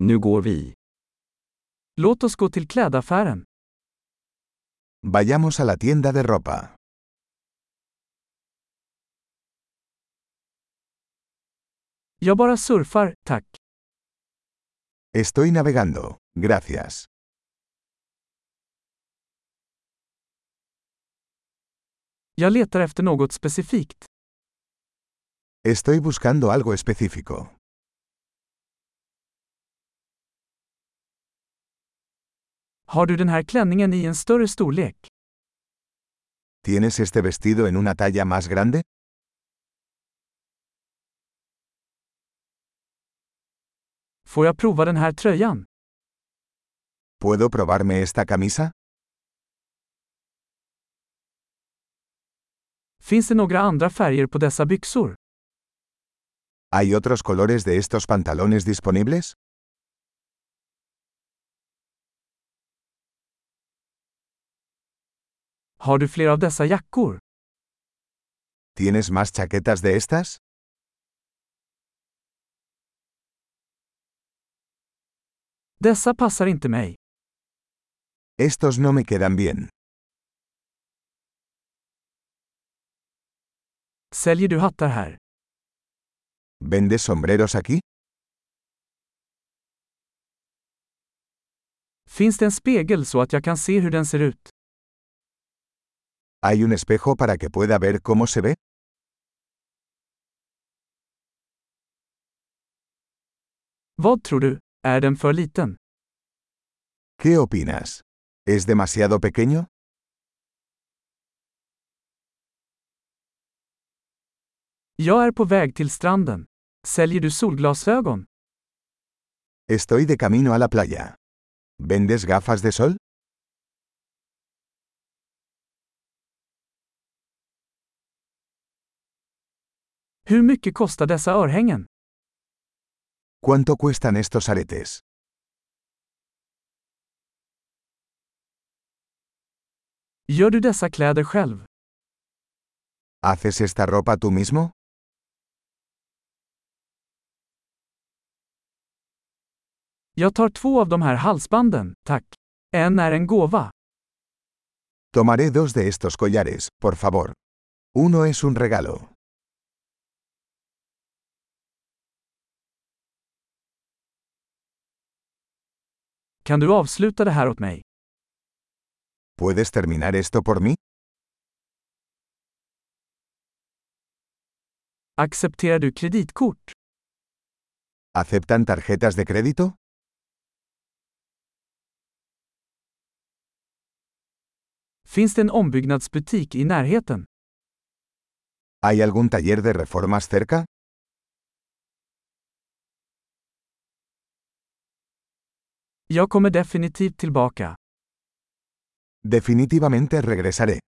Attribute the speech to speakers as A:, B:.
A: Nu går vi.
B: Låt oss gå till klädaffären.
C: Vayamos a la tienda de ropa.
B: Jag bara surfar, tack.
C: Estoy navegando, gracias.
B: Jag letar efter något specifikt.
C: Estoy buscando algo específico.
B: Har du den här klänningen i en större storlek?
C: ¿Tienes este vestido en una talla más grande?
B: Får jag prova den här tröjan?
C: ¿Puedo probarme esta camisa?
B: Finns det några andra färger på dessa byxor?
C: ¿Hay otros colores de estos pantalones disponibles?
B: Har du fler av dessa jackor?
C: ¿Tienes más chaquetas de estas?
B: Dessa passar inte mig.
C: Estos no me quedan bien.
B: Säljer du hattar här?
C: ¿Vendes sombreros aquí?
B: Finns det en spegel så att jag kan se hur den ser ut?
C: ¿Hay un espejo para que pueda ver cómo se ve?
B: Vad tror du? Är den för liten?
C: ¿Qué opinas? ¿Es demasiado pequeño?
B: Jag är på väg till stranden. Säljer du solglasögon?
C: Estoy de camino a la playa. ¿Vendes gafas de sol?
B: Hur mycket kostar dessa örhängen?
C: ¿Cuánto cuestan estos aretes?
B: Gör du dessa kläder själv?
C: ¿Haces esta ropa tú mismo?
B: Jag tar två av de här halsbanden, tack. En är en gåva.
C: Tomaré dos de estos collares, por favor. Uno es un regalo.
B: Kan du avsluta det här åt mig?
C: ¿Puedes terminar esto por mí?
B: Accepterar du kreditkort?
C: ¿Aceptan tarjetas de crédito?
B: Finns det en ombyggnadsbutik i närheten?
C: ¿Hay algún taller de reformas cerca?
B: Jag kommer definitivt tillbaka.
C: Definitivamente regresaré.